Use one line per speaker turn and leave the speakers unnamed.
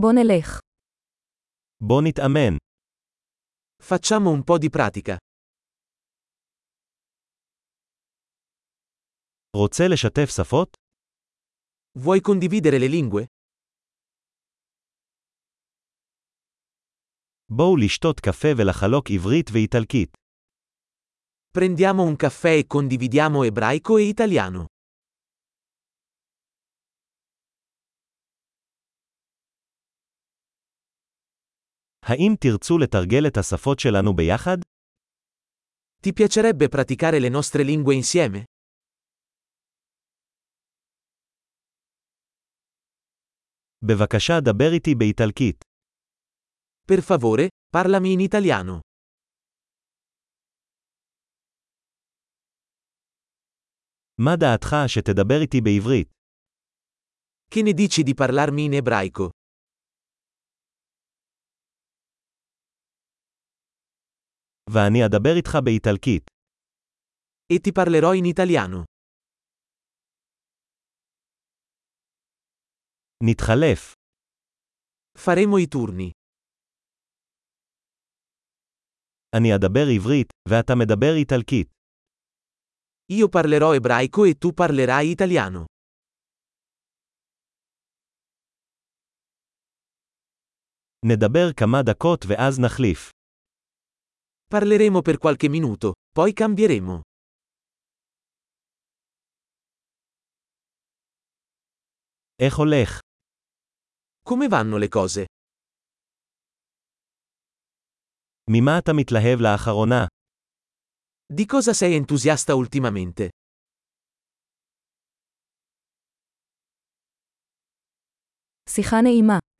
בוא נלך.
בוא נתאמן.
Facciamo un po' di pratica.
רוצה לשתף שפות?
Vuoi condividere le lingue?
בואו לשתות קפה ולחלוק עברית ואיטלקית.
Prendiamo un caffè e condividiamo ebraico e italiano.
האם תרצו לתרגל את השפות שלנו ביחד?
Ti piacerebbe praticare le nostre lingue insieme?
בבקשה דבר איתי באיטלקית.
Per favore, parlami in italiano.
מה דעתך שתדבר איתי בעברית?
Che ne dici di parlarmi in ebraico?
ואני אדבר איתך באיטלקית.
E ti parlerò in italiano.
נתחלף.
Faremo i turni.
אני אדבר עברית, ואתה מדבר איטלקית.
Io parlerò ebraico e tu parlerai italiano.
נדבר כמה דקות ואז נחליף.
Parleremo per qualche minuto, poi cambieremo.
איך הולך?
Come vanno le cose?
ממה אתה מתלהב לאחרונה?
Di cosa sei entusiasta ultimamente?
שיחה נעימה.